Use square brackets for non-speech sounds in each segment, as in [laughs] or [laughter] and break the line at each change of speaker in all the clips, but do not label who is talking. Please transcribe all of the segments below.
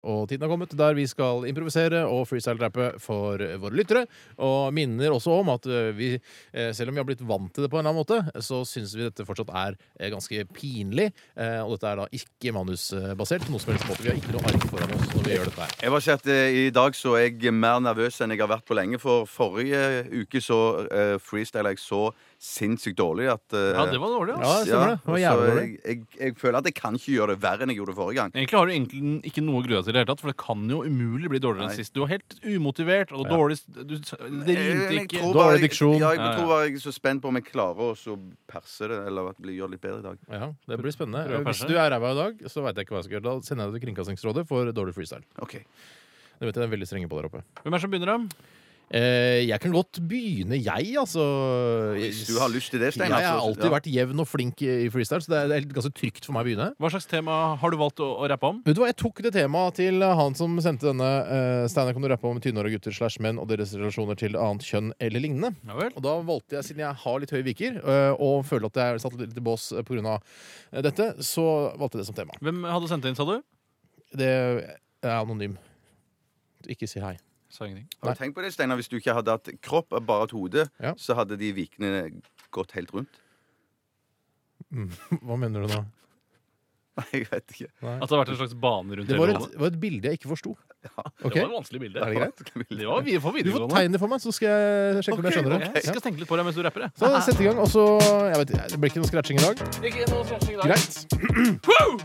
Og tiden har kommet der vi skal improvisere og freestyle-rappe for våre lyttere. Og minner også om at eh, vi, eh, selv om vi har blitt vant til det på en eller annen måte, så syns vi dette fortsatt er eh, ganske pinlig. Eh, Og dette er da ikke manusbasert på noen som helst måte. Vi har ikke noe ark foran oss når vi gjør dette her.
Jeg må si at eh, I dag så er jeg mer nervøs enn jeg har vært på lenge. For forrige uke så uh, freestyla jeg så sinnssykt dårlig at eh,
Ja, det var dårlig,
Ja,
ass.
det altså. stemmer det. Det var
så
jævlig
jeg,
dårlig.
jeg, jeg føler at jeg kan ikke gjøre det verre enn jeg gjorde forrige gang.
Egentlig har du egentlig ikke noe å grue deg til, i det hele tatt, for det kan jo umulig bli dårligere
Nei.
enn sist. Du var helt umotivert og dårlig du, Det
Eh,
rimte
Eh, Jeg
ikke.
tror
Dårlig
bare jeg-
diksjon.
Ja, jeg
Ja, ja.
tror bare jeg er så spent på om jeg klarer å så perse det, eller at det blir- gjør det litt bedre i dag.
Ja, Det blir spennende.
Prøv å
Hvis
perse.
du er ræva i dag, så veit jeg ikke hva jeg skal gjøre. Da sender jeg det til Kringkastingsrådet for dårlig freestyle.
Ok.
Det vet jeg de er veldig strenge på der oppe.
Hvem er det som begynner, da?
Eh, Jeg kan godt begynne, jeg, altså.
Hvis du har lyst til det, Steinar.
Jeg har
så-
alltid
ja.
vært jevn og flink i freestyle, så det er- det er ganske trygt for meg å begynne.
Hva slags tema har du valgt å, å rappe om?
Vet du hva, Jeg tok det temaet til eh, han som sendte denne. Uh, Steinar, kan du rappe om tynnhåra gutter slash menn og deres relasjoner til annet kjønn eller lignende?
Ja vel.
Og da valgte jeg, Siden jeg har litt høye viker eh, og føler at jeg er satt litt i bås eh, pga. dette, så valgte jeg det som tema.
Hvem hadde sendt det inn, sa du?
Det er anonym. Ikke si hei. [laughs]
Sa ingenting.
Har du tenkt på det, Steinar? Hvis du ikke hadde hatt kropp, bare et hode,
Ja.
så hadde de vikene gått helt rundt? [laughs]
Hva mener du nå?
Nei, jeg vet ikke.
Nei.
At det har vært en slags bane rundt
Det var
hele
et,
hodet?
var et bilde jeg ikke forsto. Ok?
Det var et vanskelig bilde.
Er det greit?
Det var vi- for
Du får
videregående.
tegne for meg, så skal jeg sjekke om jeg skjønner det.
Jeg skal tenke litt på deg mens du rapper. Jeg.
Så sett i gang, og så jeg vet, ikke, Det blir ikke noe scratching i dag.
Ikke noe stretching i dag.
Greit.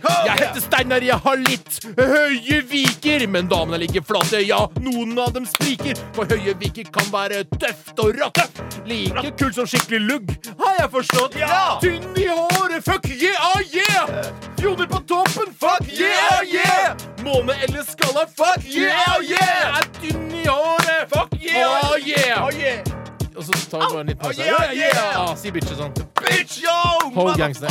Jeg heter Steinar, jeg har litt høye viker. Men damene ligger flate, ja, noen av dem spriker. For høye viker kan være tøft og ratte. Like kult som skikkelig lugg, har jeg forstått. Ja! Tynn i håret, fuck yeah, ah, yeah! Fjoner på toppen, fuck yeah, yeah! Måne eller skalla, fuck yeah, yeah! Er tynn i håret, fuck yeah, Ah, yeah! Ah, Og så tar vi bare en liten pause.
Au, yeah, yeah!
Ja, si bitches sånn.
Bitch, yo!
Hold gangster.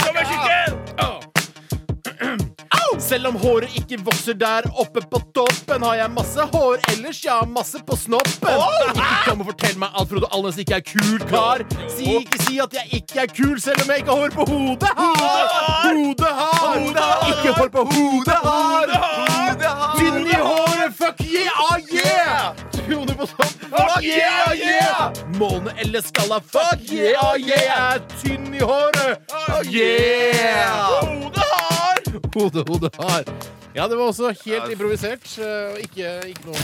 Selv om håret ikke vokser der oppe på toppen, har jeg masse hår ellers, jeg har masse på snoppen. Ikke kom og fortell meg at Frode Alnes ikke er kul kar. Si ikke si at jeg ikke er kul, selv om jeg ikke har hår på hodet. Har. Hodet har. Ikke hår på hodet har. Tynn i håret, fuck yeah, ah yeah! Kroner på sånn, fuck yeah, ah yeah! Måne eller skalla, fuck yeah, ah yeah! Tynn i håret, ah yeah! Hode har! Hode, hode har. Ja, det var også helt improvisert. eh, og Ikke, ikke noe,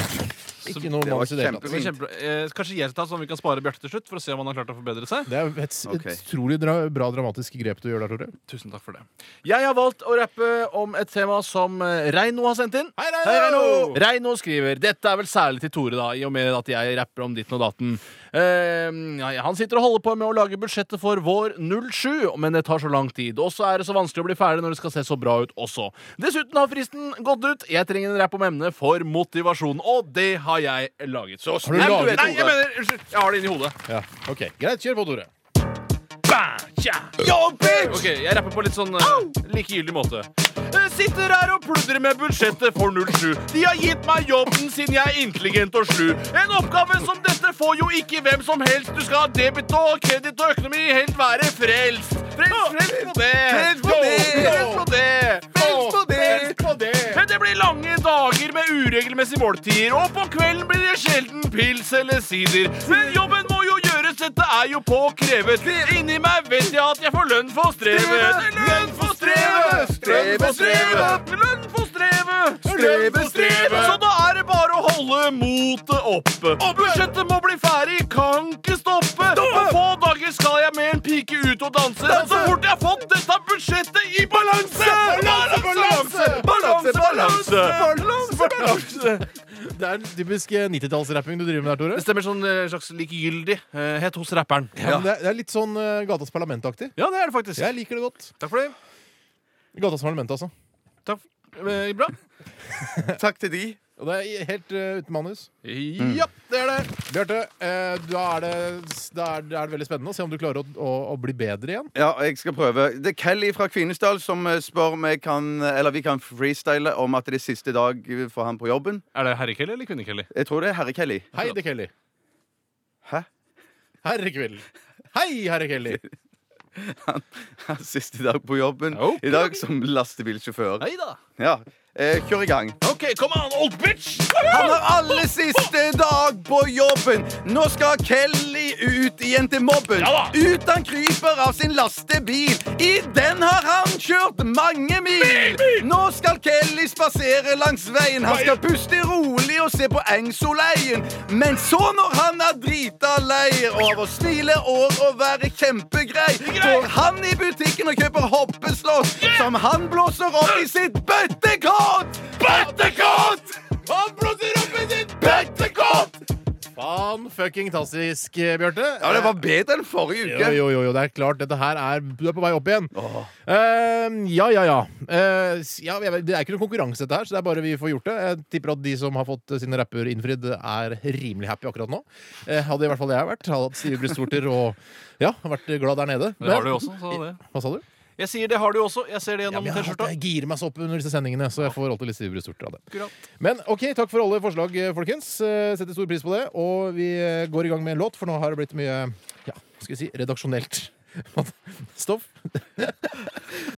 ikke noe
det var
manus i det hele
kjempe-
tatt.
Så kjempe, eh, kanskje jeg skal ta, sånn at vi kan spare Bjarte til slutt, for å se om han har klart å forbedre seg.
Det er et
Ok.
et utrolig dra bra dramatisk grep du gjør der, Tore.
Tusen takk for det. Jeg har valgt å rappe om et tema som eh, Reino har sendt inn.
Hei, Reino!
Reino skriver Dette er vel særlig til Tore, da, i og med at jeg rapper om ditten og datten. Eh, ja, han sitter og holder på med å lage budsjettet for vår 07, men det tar så lang tid. Og så er det så vanskelig å bli ferdig når det skal se så bra ut også. Dessuten har fristen gått ut. Jeg trenger en rapp om emnet for motivasjon, og det har jeg laget. Så
du
Nei, men
laget
vet- Nei,
ordet?
jeg mener, unnskyld. Jeg har det inni hodet.
Ja, ok. Greit, kjør på, Tore.
Ok, jeg rapper på litt sånn eh, likegyldig måte. Eh, Sitter her og pludrer med budsjettet for 07. De har gitt meg jobben siden jeg er intelligent og slu. En oppgave som dette får jo ikke hvem som helst. Du skal ha debit og kreditt og økonomi, helt være frelst. Frelst, frelst på det.
Frelst på det.
Frelst på det.
Frelst på det.
Frelst på det.
Men det blir lange dager med uregelmessige måltider, og på kvelden blir det sjelden pils eller sider. Men jobben må jo gjøres, dette er jo påkrevet. Inni meg vet jeg at jeg får lønn for strevet. Lønn for strevet! Lønn for strevet! Lønn for strevet!
Streve, streve.
Så da er det bare å holde motet oppe. Og budsjettet må bli ferdig, kan ikke stoppe. På få dager skal jeg med en pike ut og danse. Så fort jeg har fått dette budsjettet i balanse! Balanse, balanse, balanse, balanse, balanse, balanse.
Det er den typiske 90-tallsrapping du driver med der, Tore.
Det stemmer sånn eh, slags likegyldighet hos rapperen.
Ja, men det, er, det er litt sånn eh, Gatas Parlament-aktig.
Ja, det er det faktisk.
Jeg liker det godt.
Takk for det.
Gatas Parlament, altså.
Takk. Eh, Bra.
Takk til de.
Og det er helt eh, uten manus.
Ja, det er det.
Bjarte, eh, da, er det, da, er, da er det veldig spennende å se om du klarer å, å, å bli bedre igjen.
Ja, jeg skal prøve. Det er Kelly fra Kvinesdal som eh, spør om jeg kan Eller vi kan freestyle om at det er siste dag for han på jobben.
Er det herre-Kelly eller kvinne-Kelly?
Jeg tror det er herre-Kelly.
Hei, det er Kelly.
Hæ? [laughs]
Herre Kvill. Hei, herre Kelly.
Hans siste dag på jobben
Ok.
i dag som lastebilsjåfør.
Nei da.
Ja. Eh, kjør i gang.
OK, kom an, old bitch!
Han har aller siste dag på jobben. Nå skal Kelly ut igjen til mobben.
Ja da.
Ut han kryper av sin lastebil. I den har han kjørt mange mil. Nå skal Kelly spasere langs veien. Han skal puste rolig og se på Engsoleien. Men så, når han er drita lei av å smile og å være kjempegrei, går han i butikken og kjøper hoppeslåss som han blåser opp i sitt bøttekott. Bøttekott!
Han blåser opp i sitt bøttekott!
Faen fucking tastisk, Bjarte. Eh,
Ja, det var bedre enn forrige uke.
Jo, jo, jo, jo, det er klart. Dette her er Du er på vei opp igjen.
Åh.
Eh, ja, ja, ja. Eh, s- ja. jeg vet- Det er ikke noen konkurranse, dette her, så det er bare vi får gjort det. Jeg tipper at de som har fått eh, sine rapper innfridd, er rimelig happy akkurat nå. Eh, hadde i hvert fall jeg vært. Hadde hatt stive brystvorter og ja, vært glad der nede.
Det har du jo også. Så det.
Hva sa du?
Jeg sier det har du jo også. Jeg ser det
Ja,
gjennom
men jeg,
T-skjorta.
jeg girer meg så opp under disse sendingene, så jeg får alltid litt stive brystvorter av det.
Akkurat.
Men ok, takk for alle forslag, eh, folkens. Eh, Setter stor pris på det. Og vi eh, går i gang med en låt, for nå har det [laughs] blitt mye ja, hva skal vi si, redaksjonelt stoff.